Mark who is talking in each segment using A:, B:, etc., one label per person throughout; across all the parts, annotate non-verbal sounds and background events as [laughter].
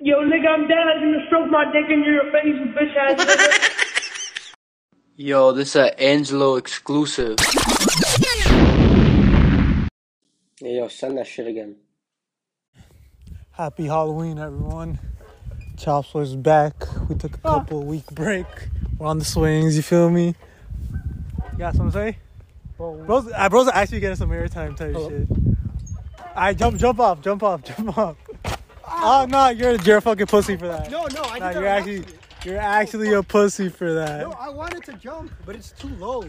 A: Yo, nigga, I'm dead. I'm gonna stroke my dick in your face, you bitch ass nigga.
B: Yo, this a Angelo exclusive.
C: Yeah, yo, send that shit again.
D: Happy Halloween, everyone. Chops was back. We took a
E: Ah.
D: couple week break. We're on the swings, you feel me? You got something to say? Bro's, uh, bro's actually getting some airtime type shit. Alright, jump, jump off, jump off, [laughs] jump off. Oh, no, you're, you're a fucking pussy for that.
E: No, no, I
D: Nah,
E: did
D: you're
E: that on
D: actually,
E: accident.
D: you're actually a pussy for that.
E: No, I wanted to jump, but it's too low.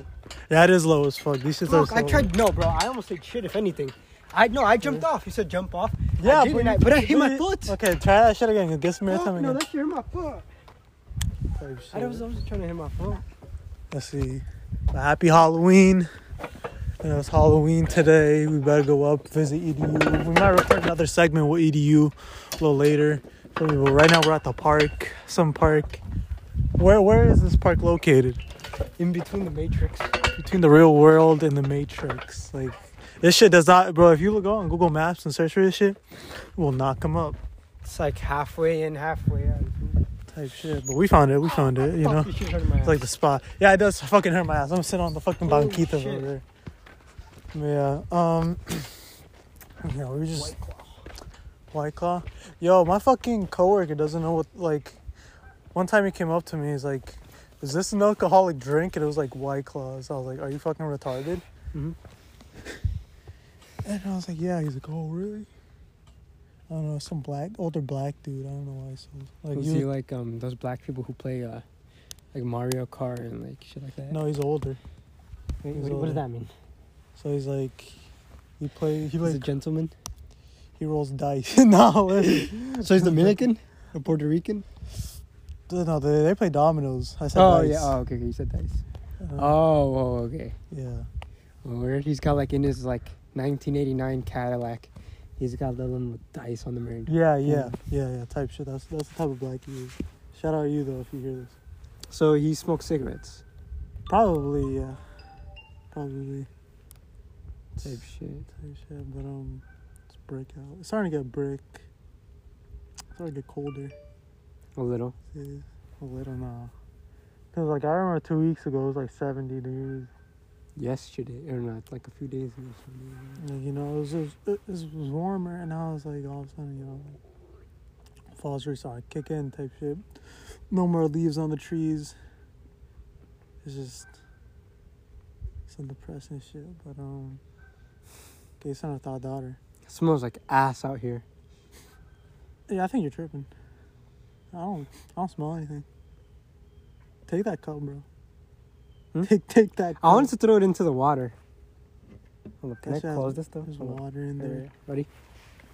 D: That is low as fuck. These shits
E: Bro,
D: are so
E: I tried. No, bro, I almost said shit. If anything, I no, I jumped off. He said jump off. I
D: Yeah,
E: didn't,
D: but,
E: I-
D: you-
E: but I hit my
D: you-
E: foot.
D: Okay, try that shit again. Get some
E: Fuck,
D: airtime
E: no,
D: again.
E: that shit hit my foot.
D: Type
E: I
D: shit.
E: was, I was trying to hit my foot.
D: Let's see. But happy Halloween. You know, it's Halloween today. We better go up, visit EDU. We might record another segment with EDU a little later. So, But right now we're at the park, some park. Where where is this park located?
E: In between the matrix.
D: Between the real world and the Matrix. Like this shit does not bro, if you look on Google Maps and search for this shit, it will not come up.
E: It's like halfway in, halfway out.
D: Type shit. But we found it, we found it, Uh, you
E: Fuck,
D: know.
E: this shit hurt my
D: It's like
E: ass.
D: the spot. Yeah, it does fucking hurt my ass. I'm sitting on the fucking
E: Holy
D: banquita
E: shit.
D: over there. Yeah. Um. [clears throat] You know, we just
E: White Claw.
D: white claw. Yo, my fucking coworker doesn't know what like. One time he came up to me, he's like, "Is this an alcoholic drink?" And it was like white claws. I was like, "Are you fucking retarded?"
E: Mhm.
D: And I was like, "Yeah." He's like, "Oh, really?" I don't know, some black, older black dude. I don't know why. So like,
F: Was
D: you,
F: he like um those black people who play uh like Mario Kart and like shit like that?
D: no, he's older.
F: Wait,
D: he's
F: what, what
D: older.
F: does that mean?
D: So he's like, he play, he
F: He's
D: like
F: a gentleman.
D: He rolls dice. [laughs] no, listen.
F: So he's Dominican or Puerto Rican?
D: no, they, they play dominoes. I said
F: Oh
D: dice.
F: yeah. Oh okay. okay, You said dice.
D: Uh,
F: Oh, oh okay.
D: yeah.
F: Word. He's got like in his like 1989 Cadillac. He's got the little dice on the mirror.
D: Yeah, yeah, yeah, yeah. Type shit. That's that's the type of black he is. Shout out you though if you hear this.
F: So he smokes cigarettes.
D: Probably yeah. Probably
F: Type shit.
D: type shit. But um, it's brick out. It's starting to get brick. It's starting to get colder.
F: A little.
D: Yeah, a little now. Cause like I remember two weeks ago it was like 70 degrees.
F: Yesterday or not? Like a few days ago. something like
D: Like, you know, it was, it was it was warmer, and I was like, all of a sudden, you know, like, fall's really starting to kick in, type shit. No more leaves on the trees. It's just some depressing shit. But um, okay, son of thought daughter.
F: that. It smells like ass out here.
D: Yeah, I think you're tripping. I don't I don't smell anything. Take that cup, bro.
F: Hmm?
D: Take take that. Cup.
F: I wanted to throw it into the water. Hold up, can
D: That shit
F: I
D: has-
F: close this though?
D: There's
F: Hold up.
D: water in
F: There we
D: there.
F: go. Ready?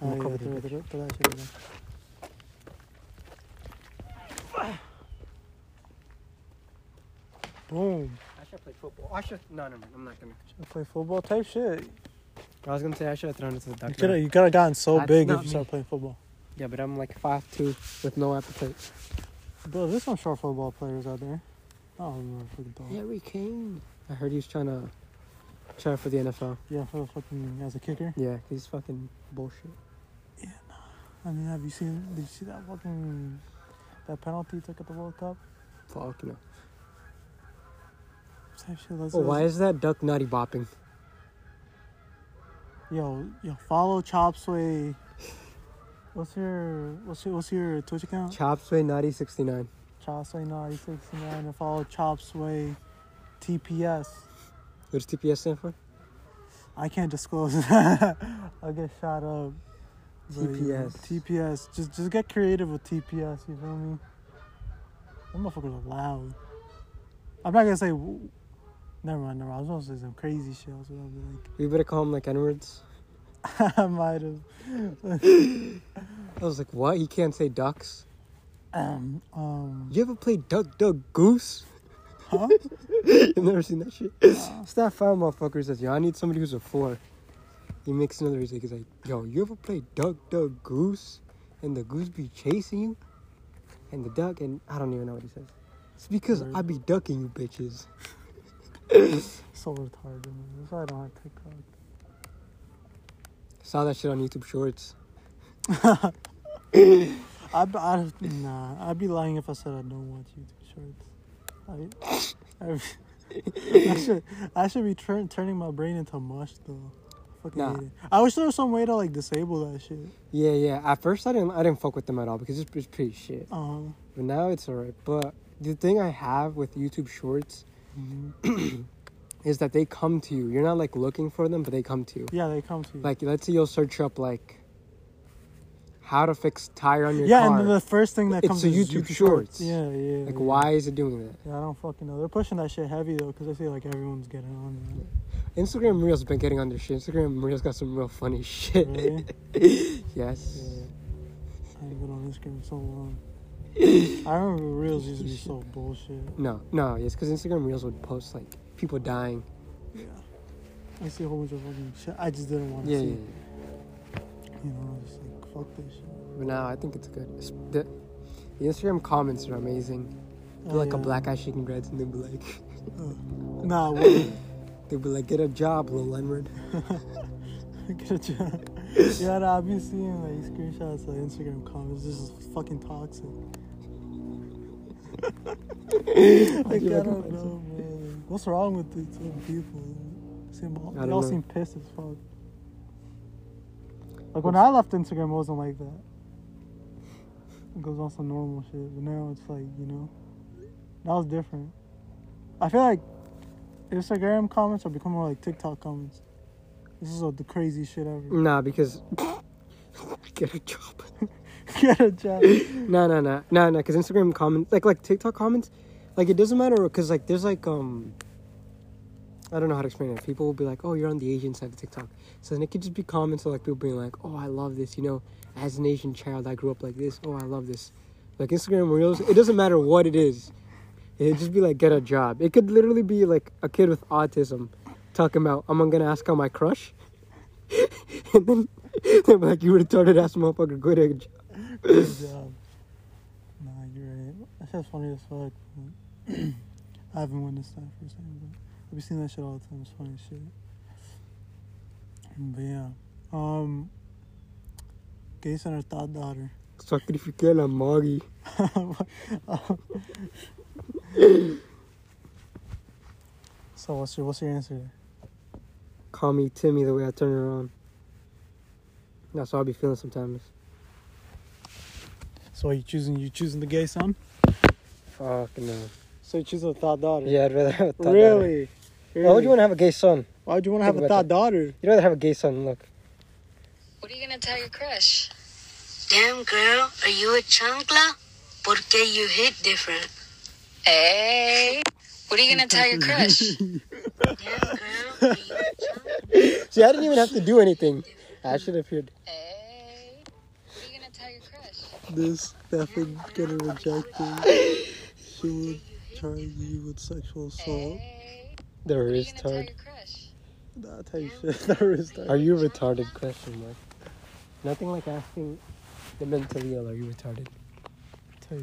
D: Oh,
F: I'm
D: yeah,
F: gonna
D: throw,
F: cover
D: throw,
F: the
D: throw, that shit away. Boom.
E: I should play football. I should. No, no, no. I'm not gonna.
D: play football type shit.
F: I was gonna say I should have thrown it to the
D: You
F: duck.
D: could have
F: now.
D: you could have gotten so
F: That's
D: big if
F: not
D: you started playing football.
F: Yeah, but I'm like five two with no appetite.
D: Bro, there's some short football players out there. Oh, I don't remember fucking dog.
F: Harry Kane. I heard he's trying to try for the NFL.
D: Yeah, for the fucking as a kicker.
F: Yeah, he's fucking bullshit.
D: I mean, have you seen? Did you see that fucking that penalty he took at the World Cup?
F: Fuck no.
D: Type shit. Let's,
F: Oh, why
D: let's-
F: is that duck nutty bopping?
D: Yo, yo, follow Chop Sway. What's your what's your what's your Twitch account?
F: Chop sway nutty sixty nine.
D: Chop Sway Naughty 69 and follow Chop Sway TPS.
F: What does TPS stand for?
D: I can't disclose [laughs] that. I'll get shot up. But, you know,
F: TPS.
D: TPS. Just just get creative with TPS, you feel me? Them motherfuckers are loud. I'm not gonna say w- never mind, never mind. I was gonna say some crazy shit. I was gonna be
F: We better call him like N words.
D: like [laughs] I might have [clears throat]
F: I was like, what? He can't say ducks.
D: um um
F: You ever play duck duck goose? [laughs]
D: Huh?
F: you never seen that [laughs] shit. It's that foul motherfucker says, yo, I need somebody who's a four. He makes another music. He's like, yo, you ever play duck duck goose? And the goose be chasing you? And the duck, and I don't even know what he says. It's because I be ducking you bitches.
D: so retarded. man. That's why I don't have TikTok. [laughs]
F: Saw that shit on YouTube Shorts.
D: I'd, be- I'd, nah, I'd be lying if I said I don't watch YouTube Shorts. I, I, I should, I should be turn, turning my brain into mush though. Fucking
F: Nah.
D: hate it. I wish there was some way to like disable that shit.
F: Yeah, yeah. At first, I didn't, I didn't fuck with them at all because it's, it's pretty shit.
D: Um,
F: But now it's alright. But the thing I have with YouTube Shorts Mm-hmm. is that they come to you. You're not like looking for them, but they come to you.
D: yeah, they come to you.
F: Like, let's say you'll search up like how to fix tire on your
D: yeah,
F: car.
D: and then the first thing that
F: It's
D: comes
F: a
D: is
F: YouTube Shorts.
D: Yeah, yeah.
F: like,
D: yeah.
F: why is it doing that?
D: Yeah, I don't fucking know. They're pushing that shit heavy though, because I see like everyone's getting on
F: Instagram Reels been getting on this shit. Instagram Reels got some real funny [laughs]
D: that.
F: shit.
D: Really?
F: yes.
D: I ain't been on Instagram in so long.
F: [laughs]
D: I remember reels used to be so bullshit.
F: No, no. It's because Instagram Reels would post like people dying.
D: I see a whole bunch of fucking shit. I just didn't want to
F: Yeah,
D: see.
F: yeah.
D: it,
F: yeah.
D: You know, I was just like fuck this shit.
F: But now I think it's good. It's- the, the Instagram comments are amazing. They're
D: Oh,
F: like a
D: yeah.
F: black eye shaking dreads, and they'll be like,
D: Nah, what?
F: they'll be like, get a job, little Leonard.
D: Get a job. [laughs] yeah, nah, I've been seeing like screenshots of Instagram comments. This is fucking
F: [laughs]
D: toxic. [laughs] like, I don't know, man. What's wrong with these little people? Seem all, they
F: I don't
D: all
F: know.
D: seem pissed as fuck. Like when I left Instagram, it wasn't like that. It goes on some normal shit, but now it's like you know, that was different. I feel like Instagram comments are becoming more like TikTok comments. This is all the crazy shit ever.
F: Nah, because [laughs] get a job.
D: [laughs] Get a job.
F: No, no, no, no, no. Because Instagram comments, like like TikTok comments, like it doesn't matter. Because like there's like um, I don't know how to explain it. People will be like, oh, you're on the Asian side of TikTok. So then it could just be comments of like people being like, oh, I love this. You know, as an Asian child, I grew up like this. Oh, I love this. Like Instagram Reels, it doesn't matter what it is. It'd just be like get a job. It could literally be like a kid with autism talking about I'm gonna ask out my crush, [laughs] and then [laughs] they're like you retarded ass motherfucker, go to a job.
D: Get a job. Nah, you're right. That's just funny as fuck. but [clears throat] I haven't witnessed that firsthand, but I've been seeing that shit all the time. It's funny as shit. But yeah, um, Gates and her thought daughter. [laughs]
F: Sacrifiqué la Maggie.
D: so what's your what's your answer?
F: call me Timmy the way I turn around. That's how I be feeling sometimes.
D: So are you choosing you choosing the gay son?
F: Fuck no.
D: So you choose a thought daughter.
F: Yeah, I'd rather have a thought daughter.
D: Really?
F: Why would you want to have a gay son?
D: Why would you want to
F: Think
D: have a
F: about
D: thought daughter?
F: You'd rather have a gay son, look.
G: What are you gonna tell your crush? Damn girl, are you a chancla? Porque you hit different. Hey, what are you gonna tell your crush? Damn girl, are you a chancla?
F: See, I didn't even have to do anything. I should have appeared.
G: Hey, what are you gonna tell your crush?
D: This definitely gonna reject you. She would charge you with sexual assault.
G: Hey,
F: The
G: what are you gonna tell
F: retard.
G: your crush?
D: That type shit. [laughs] That is
F: Are you retarded? Question mark. Nothing like asking the mentally ill, are you retarded?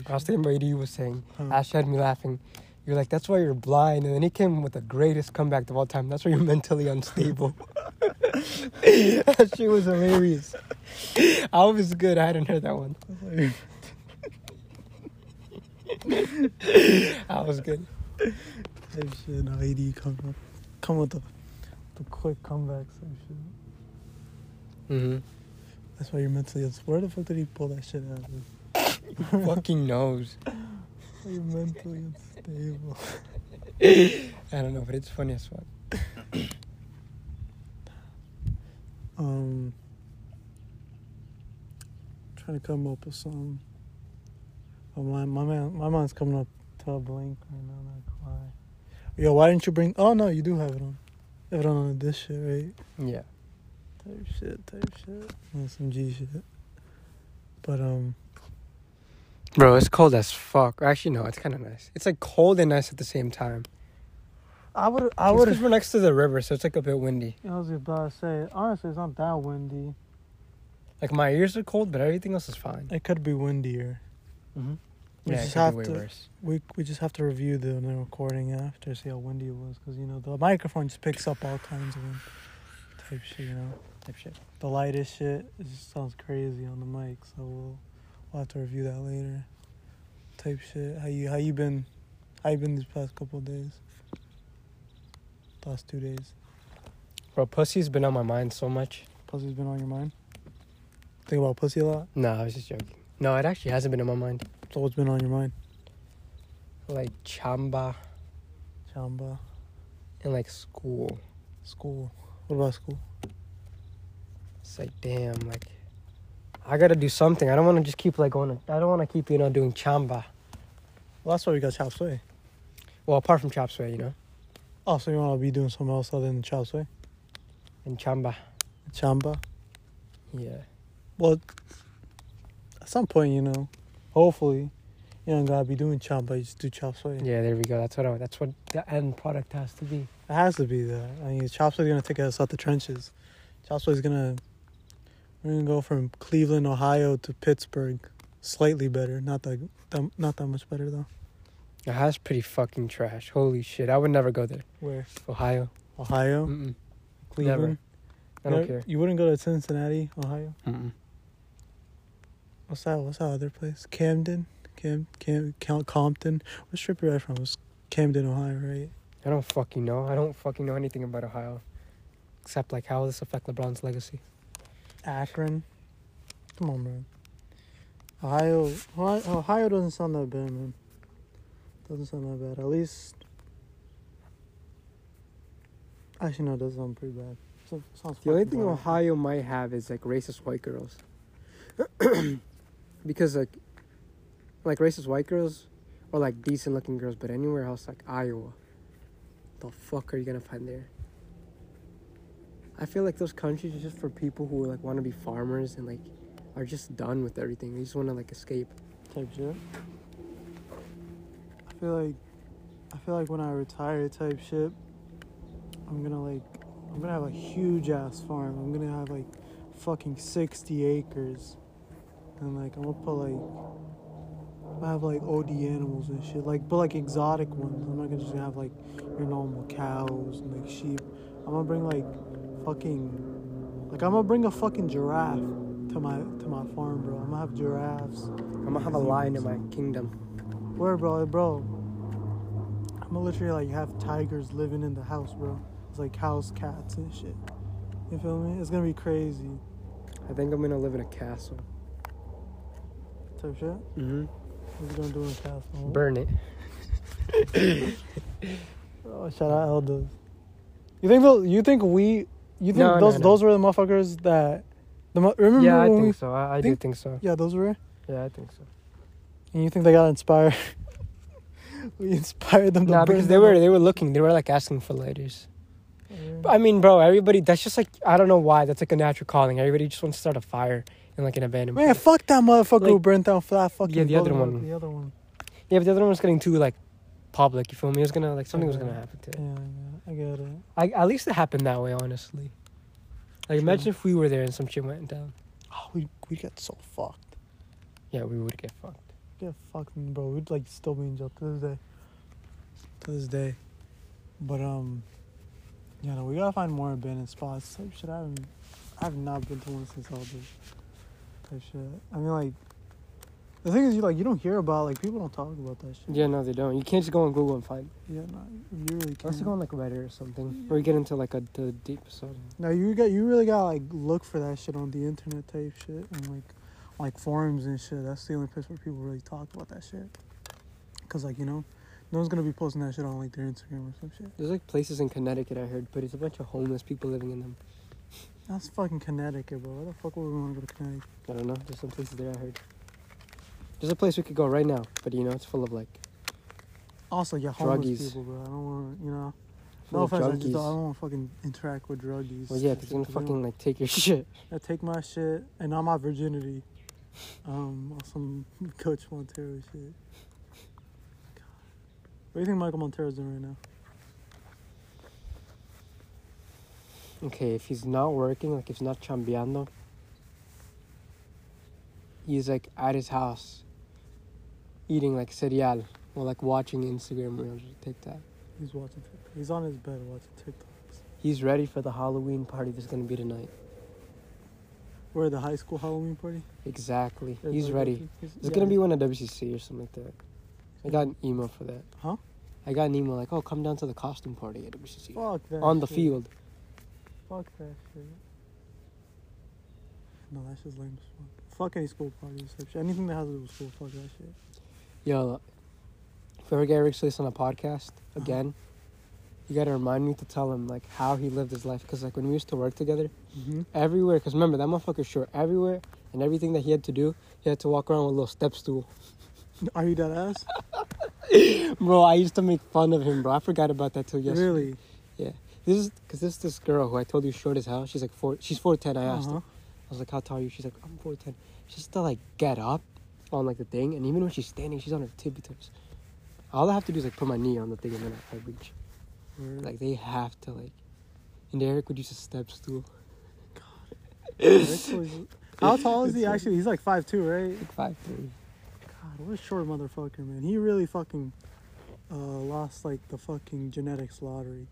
F: I was thinking about you was saying. Ash had me laughing. You're like, that's why you're blind. And then he came with the greatest comeback of all time. That's why you're mentally unstable. [laughs] that shit was hilarious. I was good. I hadn't heard that one. I was good.
D: Type shit. No, AD come up. Come with the, the quick comebacks and shit.
F: Mm-hmm.
D: That's why you're mentally ill. Where the fuck did he pull that shit out of?
F: Fucking nose.
D: You're mentally unstable.
F: I don't know, but it's funny as fuck.
D: Um, trying to come up with some. Oh, my my man, my mind's coming up to a blank right now. Not gonna lie. Yo, why didn't you bring? Oh no, you do have it on. You have it on this shit, right?
F: Yeah.
D: Type shit, type shit. Yeah, some G shit. But um,
F: Bro, it's cold as fuck. Actually, no, it's kind of nice. It's like cold and nice at the same time.
D: I would I
F: It's
D: would.
F: 'cause we're next to the river, so it's like a bit windy.
D: I was about to say. Honestly, it's not that windy.
F: Like my ears are cold, but everything else is fine.
D: It could be windier. Mm-hmm.
F: Mhm.
D: We
F: yeah, it
D: just
F: could be
D: have
F: way
D: to.
F: worse.
D: We we just have to review the, the recording after, see how windy it was, because you know the microphone just picks up all kinds of wind type shit. You know,
F: Type shit.
D: the lightest shit it just sounds crazy on the mic. So we'll, we'll I'll have to review that later. Type shit. How you how you been? How you been these past couple of days? Last two days.
F: Bro, pussy's been on my mind so much.
D: Pussy's been on your mind. Think about pussy a lot.
F: Nah, I was just joking. No, it actually hasn't been on my mind.
D: So what's been on your mind?
F: Like chamba
D: Chamba,
F: and like school.
D: school. What about school?
F: It's like damn, like I gotta do something. I don't wanna just keep like going I don't wanna keep, you know, doing chamba.
D: Well, that's why we got chop suey.
F: Well apart from chop suey, you know.
D: Oh, so you want to be doing something else other than chop suey?
F: And chamba.
D: Chamba.
F: Yeah.
D: Well, at some point, you know, hopefully, you don't gotta be doing chamba. You just do chop suey.
F: Yeah, there we go. That's what I, that's what the end product has to be.
D: It has to be that. I mean, Chop Suey's gonna take us out the trenches. Chop Suey's gonna we're gonna go from Cleveland, Ohio, to Pittsburgh, slightly better. Not that, that not that much better though.
F: Now, that's pretty fucking trash. Holy shit. I would never go there.
D: Where
F: Ohio.
D: Ohio,
F: Mm-mm.
D: Cleveland.
F: I don't
D: No,
F: care.
D: You wouldn't go to Cincinnati, Ohio.
F: Mm-mm.
D: What's that? What's that other place? Camden, Cam, Cam, Cal- Compton. What strip are you at from? It was Camden, Ohio, right?
F: I don't fucking know. I don't fucking know anything about Ohio. Except like how will this affect LeBron's legacy?
D: Akron. Come on, man. Ohio, Ohio Ohio doesn't sound that bad, man. Doesn't sound that bad. At least, actually, no, it does sound pretty bad. So, sounds
F: The only
D: fucking
F: thing
D: bad.
F: Ohio might have is like racist white girls. [clears throat] because like like racist white girls or like decent looking girls, but anywhere else like Iowa. The fuck are you gonna find there? I feel like those countries are just for people who like wanna be farmers and like are just done with everything. They just wanna like escape.
D: type shit. I feel like, I feel like when I retire, type shit, I'm gonna like, I'm gonna have a huge ass farm. I'm gonna have like, fucking sixty acres, and like I'm gonna put like, I'm gonna have like OD animals and shit, like but like exotic ones. I'm not gonna just gonna have like your normal cows and like sheep. I'm gonna bring like, fucking, like I'm gonna bring a fucking giraffe to my to my farm, bro. I'm gonna have giraffes.
F: I'm gonna have a lion in my kingdom.
D: Where, bro? Like, Bro, I'm gonna literally like have tigers living in the house, bro. It's like house cats and shit. You feel me? It's gonna be crazy
F: I think I'm gonna live in a castle.
D: type shit.
F: Mm-hmm.
D: What you gonna do in Castle?
F: Burn it.
D: oh, shout out Eldos. You think those, You think we? You think
F: No, no,
D: those?
F: no.
D: Those were the motherfuckers that. The mo- remember
F: Yeah, I
D: when we?
F: think so. I, I do
D: think-
F: think so.
D: Yeah, those were.
F: Yeah, I think so.
D: And you think they got inspired? [laughs] we inspired them. to
F: Nah,
D: burn
F: because they
D: them
F: were Mm.
D: up.
F: they were looking. They were like asking for lighters. I mean, bro, everybody. That's just like I don't know why. That's like a natural calling. Everybody just wants to start a fire in like an abandoned.
D: Man,
F: place.
D: fuck that motherfucker who
F: Like-
D: burnt down flat fucking.
F: Yeah, the other
D: Boulevard,
F: one.
D: The other one.
F: Yeah, but the other one was getting too like public. You feel me? It was gonna like something was gonna happen to
D: Yeah,
F: it.
D: yeah, I get it.
F: I, at least it happened that way, honestly. Like imagine if we were there and some shit went down.
D: Oh, we we get so fucked.
F: Yeah, we would get fucked.
D: Get fucked, bro. We'd like still be in jail to this day. To this day. But um, you know, we gotta find more abandoned spots. Type shit. I haven't, I've not been to one since all this. Type shit. I mean, like, the thing is, you like, you don't hear about like people don't talk about that shit.
F: Yeah, no, they don't. You can't just go on Google and find.
D: Yeah, no, you really
F: Unless
D: can't.
F: you go on like Reddit or something, or you get into like a the deep episode.
D: No, you got you really gotta like look for that shit on the internet type shit and like like forums and shit. That's the only place where people really talk about that shit. Cause like you know, no one's gonna be posting that shit on like their Instagram or some shit.
F: There's like places in Connecticut I heard, but it's a bunch of homeless people living in them.
D: That's fucking Connecticut, bro. Why the fuck would we want to go to Connecticut?
F: I don't know. There's some places there I heard. There's a place we could go right now, but you know it's full of like
D: Also, yeah, homeless
F: Druggies.
D: people, bro. I don't want to, you know.
F: full
D: No
F: of
D: offense, I just
F: junkies.
D: don't, I don't want to fucking interact with druggies.
F: well, yeah,
D: and
F: they're
D: shit,
F: gonna
D: 'cause they
F: fucking like take your [laughs] shit.
D: I take my shit and all my virginity. Um, [laughs] on some Coach Montero shit. God. What do you think Michael Montero's doing right now?
F: Okay, if he's not working, like if he's not chambeando, he's like at his house, eating like cereal or like watching Instagram reels or TikTok.
D: He's watching. TikTok. He's on his bed watching TikToks.
F: He's ready for the Halloween party that's gonna be tonight.
D: We're at the high school Halloween party.
F: Exactly.
D: Or
F: He's
D: the-
F: ready. It's gonna be one at WCC or something like that. I got an email for that.
D: Huh?
F: I got an email like, oh, come down to the costume party at WCC.
D: Fuck that.
F: On the
D: shit.
F: field.
D: Fuck that shit. No, that shit's lame as fuck. Fuck any school party or some shit. Anything that has to do with school, fuck that shit.
F: Yo, if you ever get Rick Solis on a podcast again, you gotta remind me to tell him like how he lived his life. Cause like when we used to work together,
D: Mhm.
F: everywhere. Cause remember that motherfucker's short. Everywhere and everything that he had to do, he had to walk around with a little step stool. [laughs]
D: Are you that ass?
F: bro, I used to make fun of him, bro. I forgot about that till yesterday.
D: Really?
F: This is because this this girl who I told you is short as hell. She's like four. She's four ten. I asked
D: Uh-huh.
F: her. I was like, "How tall are you?" She's like, "I'm four ten. She used to like get up on like the thing, and even when she's standing, she's on her tippy toes. All I have to do is like put my knee on the thing, and then I, I reach.
D: Word.
F: Like they have to like. And Eric would use a step stool.
D: Rick's always- How tall is he actually? He's like 5'2, right?
F: Five three.
D: God, what a short motherfucker, man. He really fucking uh, lost like the fucking genetics lottery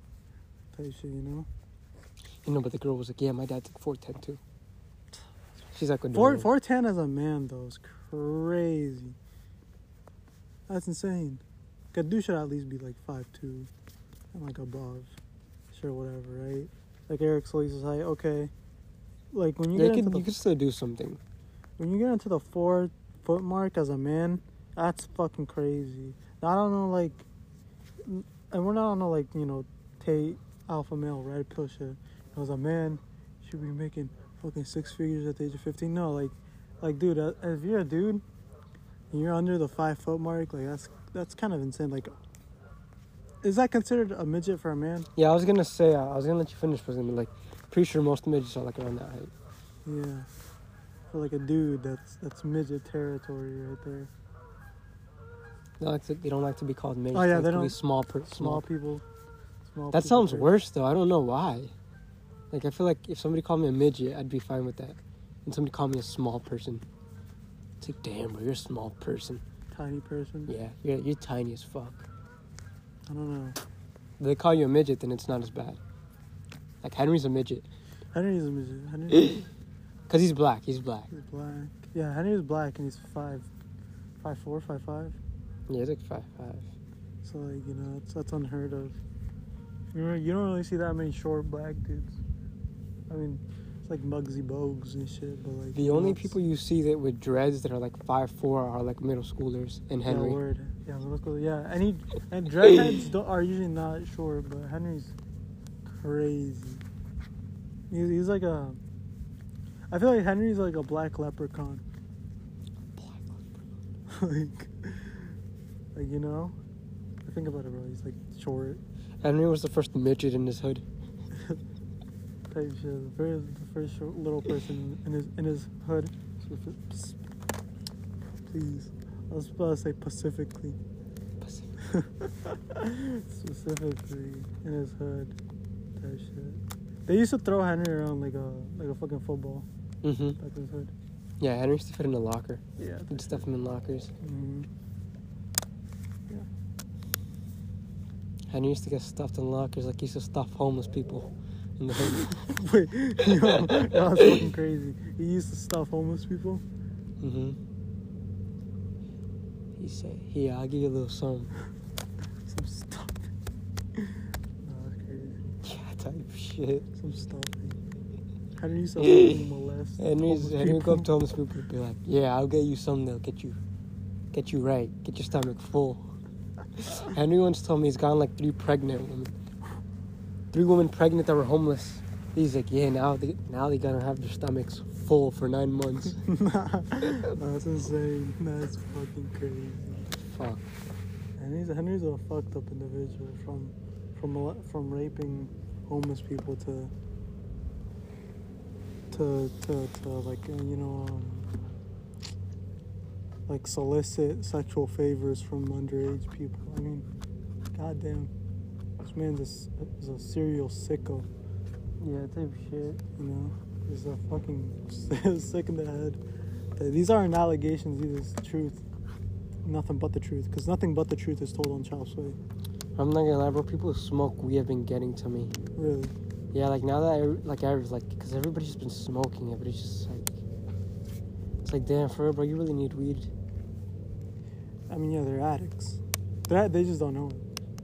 D: type shit, you know?
F: You know, but the girl was like, "Yeah, my dad's like four ten too." She's like, no.
D: Four, 4'10 as a man, though, is crazy. That's insane. A dude should at least be like 5'2 and like above. Sure, whatever, right? Like Eric Solis' height, okay. Like when you
F: Yeah, you
D: get into
F: could
D: the
F: you could still do something.
D: when you get into the four foot mark as a man, that's fucking crazy. Now, I don't know, like, n- and we're not on a like you know, Tate alpha male red pill shit. As a man, you should be making fucking six figures at the age of fifteen. No, like, like dude, uh, if you're a dude, and you're under the five foot mark, like that's that's kind of insane. Like, is that considered a midget for a man?
F: Yeah, I was gonna say uh, I was gonna let you finish, but I was gonna be like, pretty sure most midgets are like around that height.
D: Yeah, for like a dude, that's that's midget territory right there.
F: They like to, they don't like to be called midgets.
D: Oh, yeah,
F: like
D: they
F: to be
D: don't-
F: small per,
D: Small
F: small.
D: people. Small
F: That
D: people
F: sounds
D: hurt.
F: worse though. I don't know why. Like I feel like if somebody called me a midget, I'd be fine with that. And somebody called me a small person. It's like, damn, bro, you're a small person.
D: tiny person.
F: Yeah, you're you're tiny as fuck.
D: I don't know.
F: If they call you a midget, then it's not as bad. Like Henry's a midget,
D: Henry's a midget.
F: [laughs]
D: Henry
F: cause he's black. He's black.
D: is black. Yeah, Henry's black and he's five, five four, five five.
F: Yeah, he's like five five.
D: So like you know that's, that's unheard of. You know, you don't really see that many short black dudes. I mean, it's like Muggsy Bogues and shit, but like
F: The
D: you know,
F: only
D: it's-
F: people you see that with dreads that are like five four are like middle schoolers and Henry.
D: Yeah, word. Yeah, middle school. Yeah, any and dreadheads don't, are usually not short, but Henry's crazy. He's, he's like a. I feel like Henry's like a black leprechaun. [laughs] like, like you know, I think about it, bro. He's like short
F: Henry was the first midget in his hood.
D: type shit. The first, the first short little person in his in his hood. Please, I was about to say pacifically. Specifically in his hood, type shit. They used to throw Henry around like a like a fucking football
F: Mm-hmm.
D: back in his hood.
F: Yeah, Henry used to fit in a locker.
D: Yeah.
F: He'd stuff him in lockers.
D: hmm
F: Henry used to get stuffed in lockers like he used to stuff homeless people in the hood.
D: Wait, [laughs] yo, that's fucking crazy. He used to stuff homeless people.
F: mm-hmm. He said, "Here, I'll give you a little something." [laughs]
D: Some stuffing. [laughs] Nah, that's crazy.
F: Yeah, type shit.
D: Some stuffing. Henry used to
F: [laughs]
D: fucking molest.
F: Henry's,
D: homeless
F: Henry would go up to
D: people.
F: homeless people and be like, "Yeah, I'll get you something that'll get you, get you right, get your stomach full." Henry once told me he's gotten like three pregnant women, three women pregnant that were homeless. He's like, "Yeah, now they now they gonna have their stomachs full for nine months."
D: [laughs] nah, that's insane. That's fucking crazy.
F: Fuck.
D: Henry's Henry's a fucked up individual from from mole- from raping homeless people to to to, to like uh, you know um, like solicit sexual favors from underage people. I mean, goddamn, this man's a, s- is a serial sicko.
F: Yeah, type shit.
D: You know, he's a fucking [laughs] sick in the head. Th- These aren't allegations. These is the truth. Nothing but the truth, because nothing but the truth is told on Chop Sway.
F: I'm not gonna lie, bro. People who smoke weed have been getting to me.
D: Really?
F: Yeah, like now that I like I was like, cause everybody's just been smoking. Everybody's just like, It's like, damn, for real, bro, you really need weed.
D: I mean, yeah, they're addicts. They're, they just don't know it,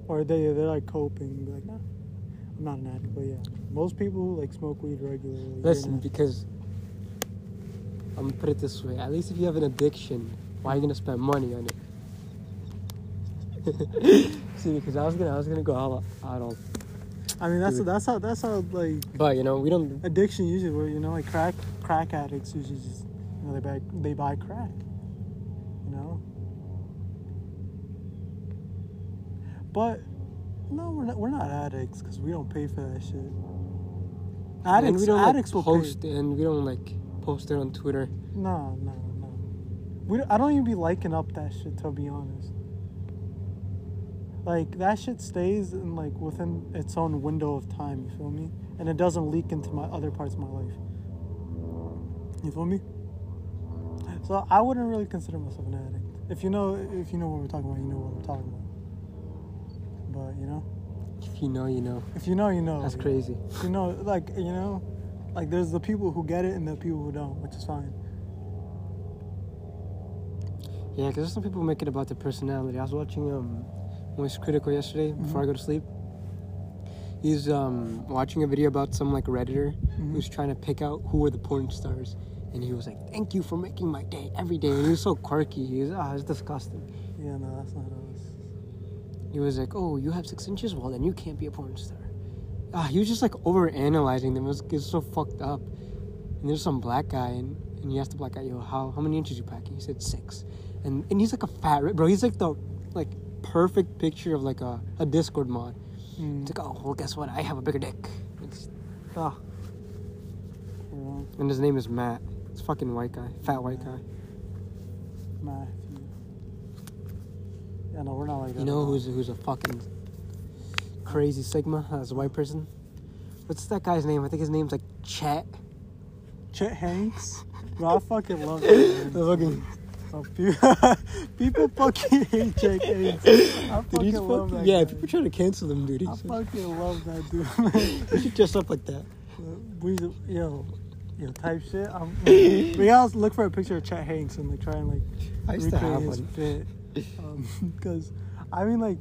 D: or they they're like coping. Be like, nah, I'm not an addict. But yeah, most people who like smoke weed regularly. they're
F: Listen,
D: not-
F: because I'm gonna put it this way: at least if you have an addiction, why are you gonna spend money on it? [laughs] See, because I was gonna, I was gonna go all out on,
D: I mean, that's that's how that's how like
F: but you know, we don't.
D: addiction usually where you know like crack crack addicts usually just you know they buy they buy crack you know but no we're not we're not addicts because we don't pay for that shit
F: and
D: addicts
F: we don't
D: addicts
F: like,
D: will
F: post, and we don't like post it on Twitter.
D: pay no no no we don't, I don't even be liking up that shit to be honest like that shit stays in like within its own window of time you feel me and it doesn't leak into my other parts of my life you feel me so i wouldn't really consider myself an addict if you know if you know what we're talking about you know what we're talking about but you know
F: If you know, you know.
D: if you know you know
F: That's
D: you
F: crazy.
D: you know, like you know, like there's the people who get it and the people who don't, which is fine.
F: Yeah, because there's some people make it about their personality. I was watching um, Moist Critical yesterday before I go to sleep. He's um, watching a video about some like redditor who's trying to pick out who were the porn stars, and he was like, "Thank you for making my day every day." And he was so quirky. He was ah, it's disgusting.
D: Yeah, no, that's not us.
F: He was like, "Oh, you have six inches? Well, then you can't be a porn star." Ah, he was just like over analyzing them. It was, it was so fucked up. And there's some black guy, and, and he asked the black guy, "Yo, how how many inches you packing?" He said six, and and he's like a fat ri- bro. He's like the like perfect picture of like a, a Discord mod. It's like, oh well, guess what? I have a bigger dick. It's, ah.
D: You're wrong,
F: And his name is Matt. It's fucking white guy, fat white guy.
D: Matthew. Yeah, no, we're not like that.
F: You know who's who's a fucking crazy sigma? That's a white person. What's that guy's name? I think his name's like Chet.
D: Chet Hanks. Bro, I fucking love it.
F: [laughs]
D: [laughs]
F: Fucking,
D: people fucking hate Chet Hanks. I
F: dude,
D: fucking
F: he's
D: love
F: fucking,
D: that
F: yeah,
D: guy.
F: people try to cancel him, dude.
D: I
F: He's-
D: fucking love that dude. [laughs] man.
F: We should dress up like that.
D: we, yo, yo, type shit. I'm, we gotta look for a picture of Chet Hanks and like try and like
F: I used to have one.
D: [laughs] Because, Um, I mean, like,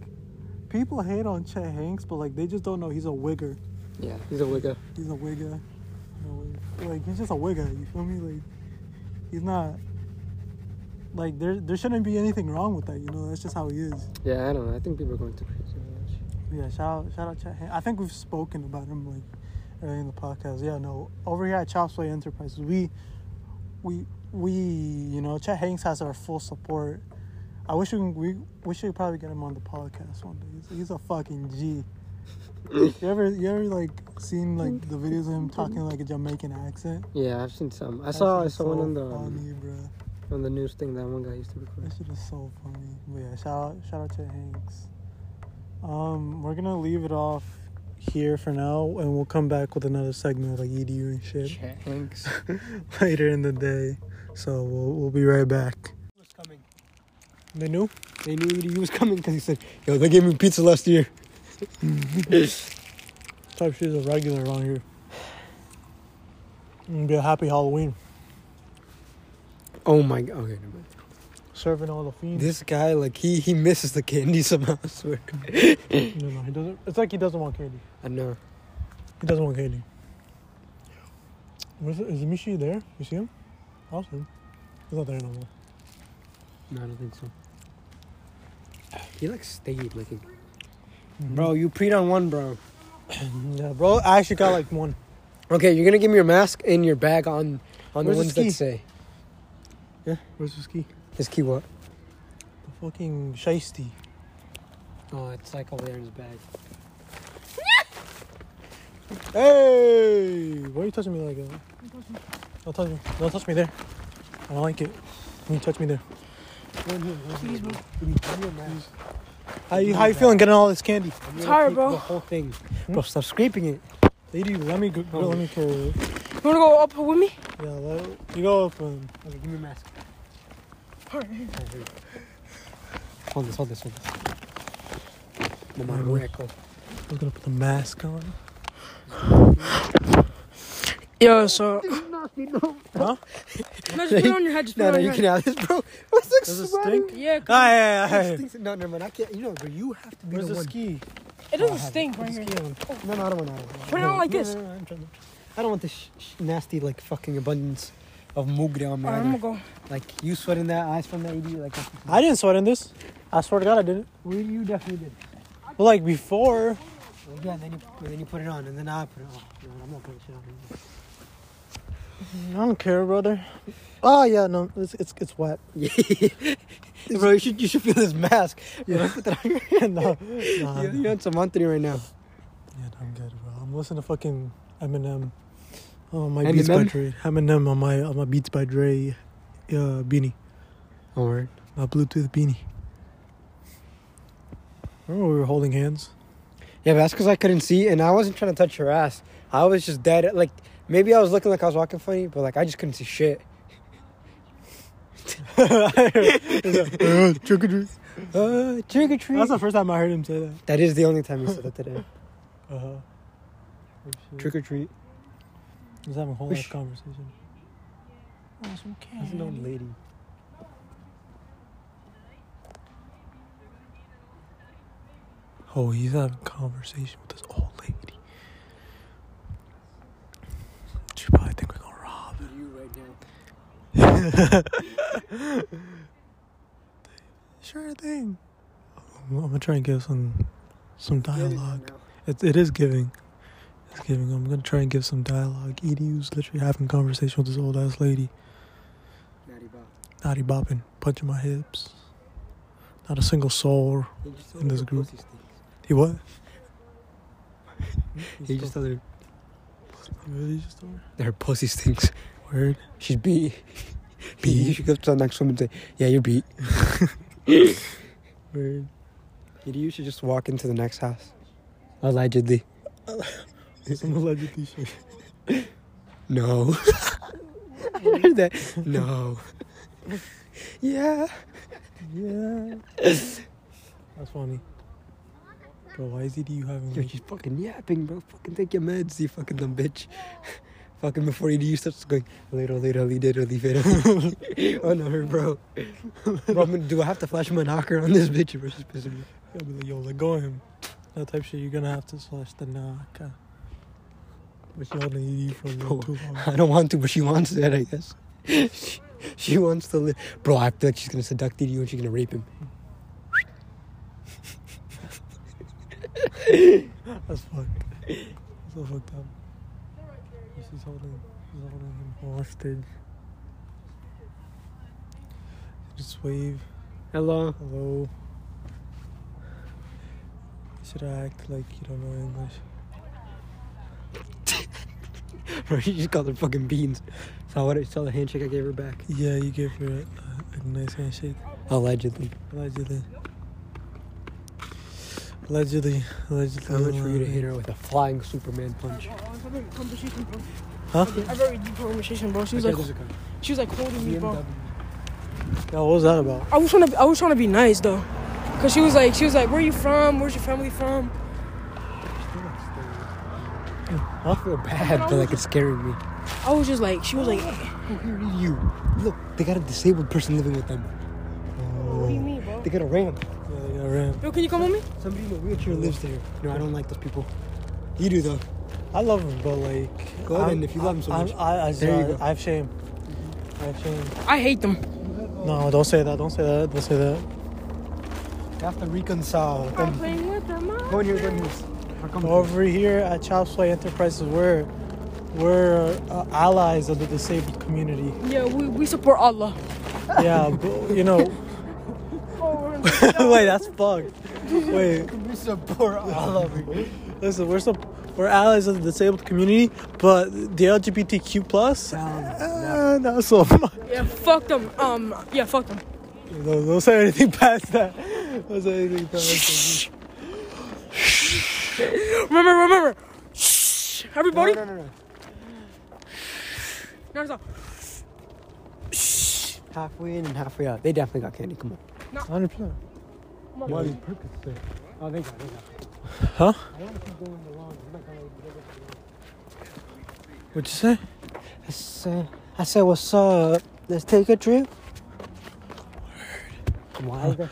D: people hate on Chet Hanks, but, like, they just don't know he's a wigger.
F: Yeah, he's a wigger.
D: He's a wigger. You know, Like, he's just a wigger, you feel me? Like, he's not. Like, there, there shouldn't be anything wrong with that, you know? That's just how he is.
F: Yeah, I don't know. I think people are going too crazy. with that shit.
D: Yeah, shout out, shout out Chet Hanks. I think we've spoken about him, like, earlier in the podcast. Yeah, no, over here at Chopsway Enterprises, we, we, we, you know, Chet Hanks has our full support. I wish we, we, we should probably get him on the podcast one day. He's, he's a fucking G. you ever, you ever like seen like the videos of him talking like a Jamaican accent?
F: Yeah, I've seen some. I saw
D: That
F: I
D: shit is
F: saw one
D: so
F: on the um,
D: funny, bro.
F: on the news thing that one guy used to
D: That
F: record.
D: shit is so funny. But yeah, shout out, shout out to Hanks. Um, we're gonna leave it off here for now, and we'll come back with another segment of like EDU and shit
F: Chet Hanks.
D: [laughs] later in the day. So we'll we'll be right back.
E: What's coming?
D: They knew.
F: They knew he was coming because he said, "Yo, they gave me pizza last year."
D: Type shit is a regular around here. Mm, Be a happy Halloween.
F: [laughs] Oh my god. Okay, never mind.
D: Serving all the fiends.
F: This guy, like, he he misses the candy [laughs] somehow. I swear. Uh,
D: no, no, he doesn't. It's like he doesn't want candy.
F: I know.
D: He doesn't want candy. Where's, is Mishi there? You see him? Awesome. He's not there no more. [clears throat]
F: No, I don't think so. He like stayed like.
D: Mm-hmm.
F: Bro, you peed on one, bro.
D: Yeah, bro. I actually got like one.
F: Okay, you're gonna give me your mask and your bag on on
D: Where's
F: the
D: the
F: ones
D: ski?
F: that say
D: Where's the ski?
F: his key. What?
D: The fucking shiesty.
F: Oh, it's like over there in his bag.
D: Hey! Why are you touching me like that? Don't touch me. Don't touch me there. I don't like it. Can you touch me there? How you, how you feeling getting all this candy?
F: I'm tired, bro. The whole thing,
D: Hmm?
F: bro. Stop scraping it.
D: Lady, let me go. Let me carry it.
H: You wanna go up with me?
D: Yeah, let, you go up and
F: Okay, give me your mask. Hold this. Hold this. Hold this. The Marco.
D: I'm gonna put the mask on.
H: Yo, so
D: Huh?
H: No, just put it on your head. Just put
F: No,
H: it
F: no,
H: on
F: you
H: your
F: can
H: head.
F: have this, bro. What's the
D: Does it
F: sweating?
D: stink?
H: Yeah, 'cause
D: Ah, yeah, yeah,
F: It
D: yeah.
F: stinks. No, never mind. I can't. You know, bro, you have to be
D: Where's
F: the,
D: the
F: one.
D: ski?
H: it doesn't stink right here.
F: No, no, I don't want. I don't want.
H: Put it on like
F: No,
H: this.
F: no, no, I'm trying to- I don't want this sh- sh- nasty, like fucking abundance of mugre on me.
H: Alright, I'm gonna
F: either.
H: go.
F: Like you sweat in that, I sweat in that. You do like. that's-
D: I didn't sweat in this. I swear to God, I didn't.
F: Well, you definitely did.
D: Well, like before.
F: Well, yeah, and then you and then you put it on, and then I put it on. No, I'm not putting shit on. anymore.
D: I don't care, brother. Oh yeah, no, it's it's, it's wet.
F: [laughs] Bro, you should you should feel this mask. Yeah. Put that on your [laughs] hand.
D: no,
F: though.
D: nah,
F: You're, you're on some Anthony right now.
D: Yeah, I'm good, bro. I'm listening to fucking Eminem. Oh my
F: Eminem?
D: Beats by Dre. Eminem on my on my Beats by Dre, uh, beanie,
F: Alright.
D: my Bluetooth beanie. Remember we were holding
F: [laughs]
D: hands?
F: Yeah, but that's because I couldn't see, and I wasn't trying to touch your ass. I was just dead. Like maybe I was looking like I was walking funny, but like I just couldn't see [laughs] shit.
D: Uh, trick or treat.
F: Uh, trick or treat.
D: That's the first time I heard him say that.
F: That is the only time you said that today.
D: Uh huh.
F: Trick or treat.
D: He's having a whole
F: Wish-
D: ass conversation.
F: That's an old lady.
D: Oh, he's having a conversation with this old lady. She probably think we're gonna rob.
I: You right now.
D: [laughs] Sure thing. I'm, I'm gonna try and give some some dialogue. It, it is giving. It's giving. I'm gonna try and give some dialogue. EDU's literally having a conversation with this old ass lady.
I: Natty Bob.
D: Naughty bopping, punching my hips. Not a single soul.
F: He just
D: In this group. He what?
F: He just told her
D: He really just told her?
F: her pussy [laughs] stinks.
D: Word.
F: She's [laughs] beat. beat. She goes to the next woman and say, "Yeah, you're [laughs] beat."
D: Word.
F: You should just walk into the next house. Allegedly.
D: It's an alleged t-shirt.
F: [laughs] No. I heard that. No. [laughs] yeah.
D: Yeah. That's funny. Bro, why is EDU having
F: Yo,
D: like,
F: she's fucking yapping, bro. Fucking take your meds, you fucking dumb bitch. [laughs] Fucking before you do, you starts going later, later, later, later, later. [laughs] oh no, her, bro. bro I'm gonna, do I have to flash my knocker on this bitch? Bro, she's pissing me.
D: I'll be like, yo, let go of him. That type shit, you're gonna have to slash the knock. uh, But you only need you for a little too
F: [laughs]
D: long.
F: I don't want to, but she wants that, I guess. [laughs] she, she wants to live. Bro, I feel like she's gonna seduct you and she's gonna rape him.
D: That's fucked. That's so fucked up. She's holding, she's holding him hostage. Just wave,
F: Hello.
D: hello. Should I act like you don't know English?
F: [laughs] Bro, she just called her fucking beans. Saw what? I Saw the handshake I gave her back.
D: Yeah, you gave her uh, a, a nice handshake.
F: Allegedly.
D: Allegedly. Allegedly. Allegedly.
F: How much for you to
D: allegedly.
F: hit her with a flying Superman punch?
H: Conversation, bro.
D: Huh?
H: I very deep conversation, bro. She was like, she was like holding me, bro.
D: Yeah, what was that about?
H: I was trying to, I was trying to be nice though, cause she was like, she was like, where you from? Where's your family from?
F: I feel bad, but like it's scaring me.
H: I was just like, she was like,
F: Here is you. Look, they got a disabled person living with them. Oh,
H: what do you mean, bro?
F: They got a ramp.
D: Yeah, they got ramp.
H: Yo, can you come with me?
F: Somebody in a wheelchair lives there. No, I don't like those people. You do though.
D: I love him, but like.
F: Go ahead,
D: I'm-
F: and if you love him so
D: I'm-
F: much.
D: I, I,
F: There you
D: I-
F: go.
D: I have shame. I have shame.
H: I hate them.
D: No, don't say that. Don't say that. Don't say that.
F: You have to reconcile. with them.
H: playing with them.
F: Go in here, go in here. How come-
D: Over here at Chop Sway Enterprises, we're we're uh, allies of the disabled community.
H: Yeah, we, we support Allah.
D: Yeah, but, you know. [laughs] Wait, that's fucked. Wait.
F: [laughs] We support all of you.
D: Listen, we're so we're allies of the disabled community, but the LGBTQ plus, uh, not so much.
H: Yeah, fuck them. Um, yeah, fuck them. [gasps]
D: Don't, don't say anything past that. Don't say anything past
H: Remember, remember. Shh, everybody.
F: No, no, no, no.
H: No, stop.
F: Halfway in and halfway out. They definitely got candy. Come on.
D: that. Hundred percent.
F: One purpose there. Oh, they got it.
D: Huh?
F: I want to keep going along. I'm not gonna let it
D: What'd you say?
F: go. I said, I said, what's up?
E: Let's take a trip.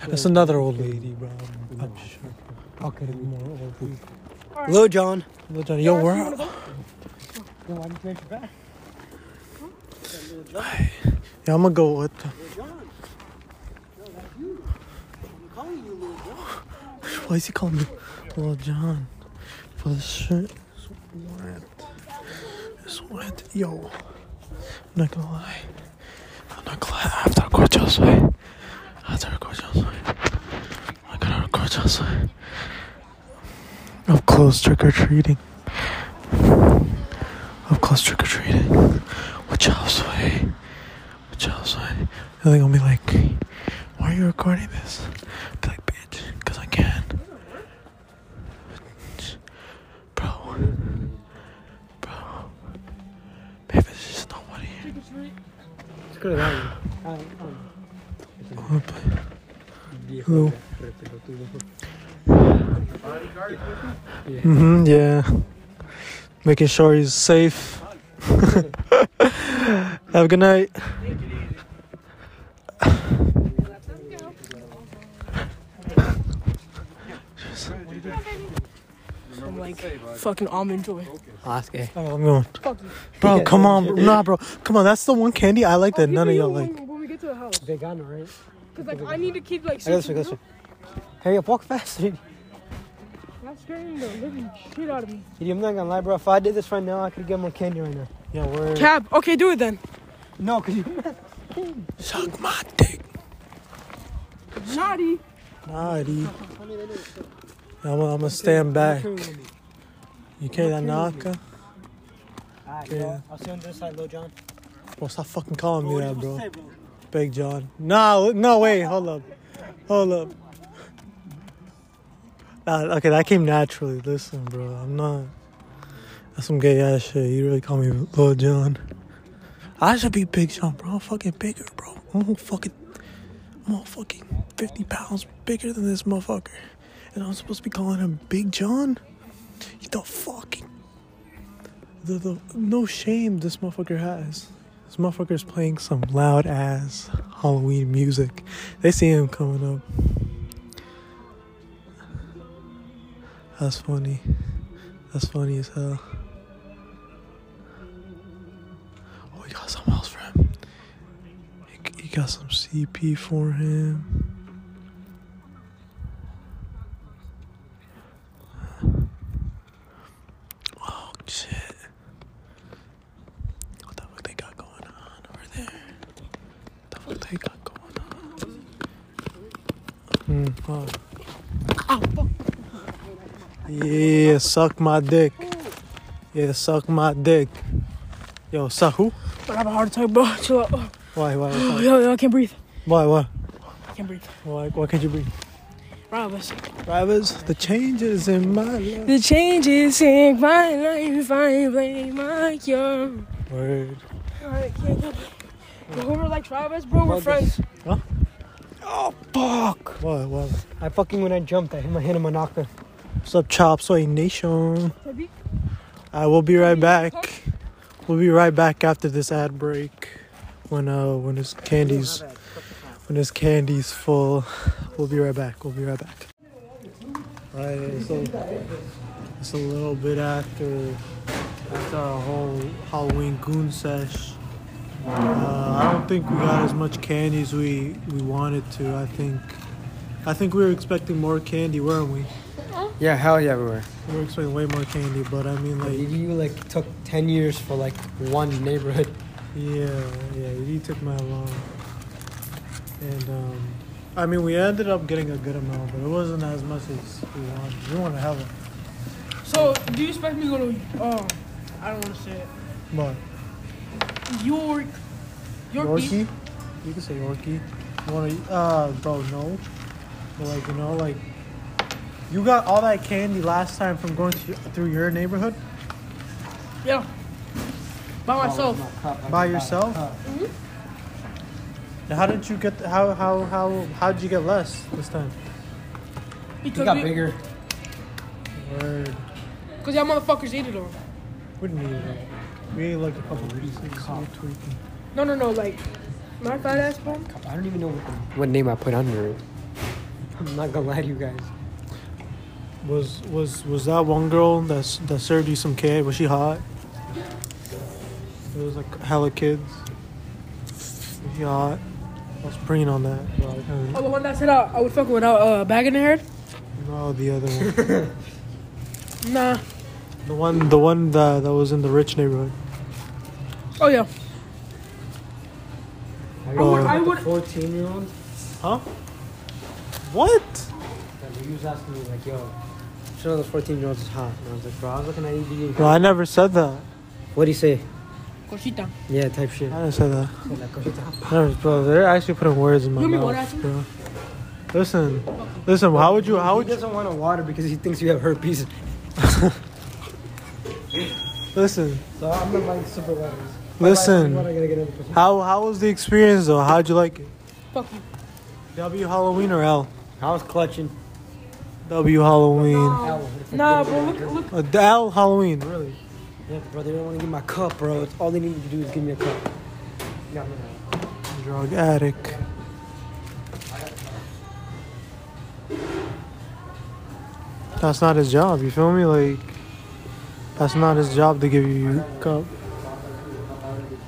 D: That's another old lady, bro. I'm, I'm sure.
E: Okay.
D: More old people.
E: Lil John.
D: Little Johnny, yo, where? Yeah, I'm gonna go with. Why is he calling me Little John? For the shirt is wet. It's wet. Yo, I'm not gonna lie. I'm not gonna lie. After I go outside, after I go outside, I gotta go outside. Up close trick or treating. Up close trick or treating. Watch out, sway. Watch out, sway. And they're gonna be like, why are you recording this? I'll be like, bitch, because I can. Bro. Bro. Babe, it's just nobody here. Whoop. Hello. hmm yeah. Making sure he's safe. [laughs] Have a good night.
H: I'm like fucking almond joy.
E: Oscar.
D: Oh, I'm going.
H: Fuck you.
D: Bro, come on. Bro. Nah, bro. Come on. That's the one candy I like that
H: I'll
D: none
H: give
D: of y'all
H: it you
D: like.
H: When, when we get to the house,
E: Vegano, right?
H: cause like I need to keep like.
E: I guess, I guess. Hurry up, walk faster.
H: I'm scaring the living shit out of me.
E: Dude, I'm not gonna lie, bro. If I did this right now, I could get more candy right now.
D: Yeah, we're.
H: Cab. Okay, do it then.
E: No, cause you.
D: Suck my dick.
H: Naughty.
D: Nah, dude. I'm gonna stand back. You can't knock her?
E: Alright,
D: Yeah.
E: I'll see you on the other side, Lil John.
D: Bro, stop fucking calling me that, bro. Big John. No, no, wait. Hold up. Hold up. Nah, okay, that came naturally. Listen, bro. I'm not. That's some gay ass shit. You really call me Little John. I should be Big John, bro. I'm fucking bigger, bro. I'm fucking. I'm all fucking 50 pounds bigger than this motherfucker. And I'm supposed to be calling him Big John? You the fucking. The, the, no shame this motherfucker has. This motherfucker's playing some loud ass Halloween music. They see him coming up. That's funny. That's funny as hell. Oh, he got something else for him. He, he got some CP for him. Oh, shit. What the fuck they got going on over there? What the fuck they got going on? Hmm. oh. Yeah, suck my dick. Yeah, suck my dick. Yo, suck who?
H: I have a heart attack, bro. Chill out. Oh,
D: Why, why,
H: yo,
D: why,
H: yo, I can't breathe.
D: why, why,
H: I can't breathe.
D: why, why can't you be?
H: Rob us.
D: Drivers, the changes in my life.
H: The changes in my life, I blame my cure.
D: Word.
H: Alright, can't go. Whoever likes Rob us, bro,
E: Rob
H: we're
E: us.
H: friends.
E: Oh, Fuck!
D: Why, why?
E: I fucking when I jumped, I hit my hand on my knocker.
D: What's up, Chop Soy Nation?
H: Maybe.
D: I will be right back. We'll be right back after this ad break. When uh, when his candy's, when his candy's full, we'll be right back. We'll be right back. Right, so it's a little bit after after our whole Halloween goon sesh. Uh, I don't think we got as much candy as we we wanted to. I think I think we were expecting more candy, weren't we?
E: Yeah, hell yeah, we were.
D: We were expecting way more candy, but I mean like.
E: You like took 10 years for like one neighborhood.
D: Yeah, yeah, he took my loan. And um, I mean, we ended up getting a good amount, but it wasn't as much as we wanted. We wanted to have a
H: So, do you expect me to go to, oh, I don't want to say it.
D: but
H: York. York Beach.
D: Yorkie. You can say Yorkie. You want to? Uh, bro, no. But like you know, like you got all that candy last time from going to, through your neighborhood
H: Yeah. By
E: Oh,
H: myself.
D: by yourself. Uh-huh. Now, How did you get? How how how how did you get less this time?
H: Because
E: You got bigger.
D: Word.
H: Because y'all motherfuckers ate it all.
D: Wouldn't need it. We ate like a couple of pieces. so we're tweaking.
H: No, no, no. Like, My fat ass bum?
F: I don't even know what, the- what name I put under it. I'm not gonna lie to you guys.
D: Was was was that one girl that s- that served you some kid? Was she hot? It was like hella kids. Was she hot? I was preying on that. but I
H: Oh,
D: kinda-
H: the one that said I, I would fuck without a uh, bag in the head?
D: No, the other one,
H: Nah.
D: the one, the one that that was in the rich neighborhood.
H: Oh, yeah.
F: I
D: would-
H: I
F: the
H: would-
F: 14 year old
D: Huh? What?
F: that he was asking me, like, yo, some of those 14 year olds is hot. And I was like, bro, I was looking at
E: E
F: you.
D: No, I never said that.
F: What'd he say?
H: Cosita.
F: Yeah, type shit.
D: I didn't say that.
F: Said, like, "Oh, hot."
D: Never, bro, they're actually putting words in my
H: Give me
D: mouth,
H: one, Ashton.
D: bro. Listen, listen. How would you? How
F: He
D: would you?
F: doesn't want to water because he thinks you have herpes.
D: Listen,
F: So I'm not like super waters.
D: listen.
F: What I gotta get another person.
D: How how was the experience though? How'd you like it?
H: Fuck you.
D: W Halloween or L?
F: I was clutching.
D: W Halloween.
F: Ow.
H: Nah, bro, look, look.
D: Uh, the L Halloween, really?
F: Yeah, bro, they don't want to give my cup, bro. It's all they need to do is give me a cup. No, no, no.
D: Drug addict. That's not his job. You feel me? Like, that's not his job to give you cup.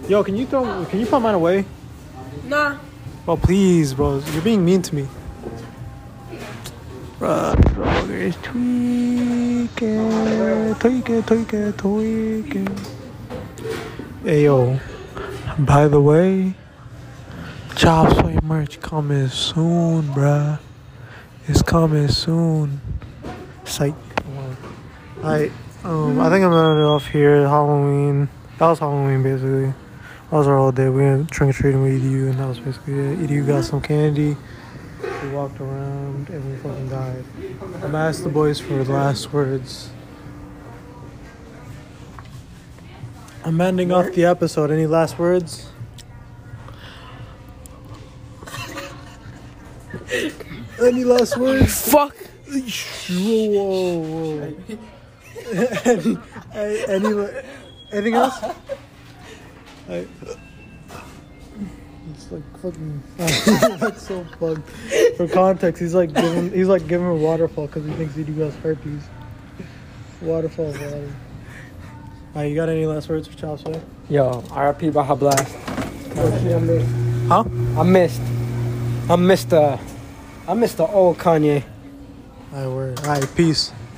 D: Yo, can you throw? Can you put mine away?
H: Nah.
D: Bro, please, bro. You're being mean to me. Bro, Roger is tweaking, tweaking, tweaking, tweaking. Hey, yo. By the way, Chop Sway merch coming soon, bruh. It's coming soon. Psych. Alright, um, I think I'm gonna end it off here. Halloween. That was Halloween, basically. That was our whole day. We went trick or treating with EDU, and that was basically it. EDU got some candy. We walked around and we fucking died. I'm gonna ask the boys for last words. I'm ending off the episode. Any last words? Any last words?
H: Fuck.
D: Whoa, whoa, whoa. any, a- any, anything else? I, it's like fucking. [laughs] That's so fucked. For context, he's like giving, he's like giving her waterfall because he thinks he has herpes. Waterfall water. Alright, you got any last words for Chop Sway?
F: Yo, RIP Baja Blast. Oh, shit, I missed.
D: Huh?
F: I missed. uh, I missed the. I missed the old Kanye.
D: Alright, word. Alright, peace.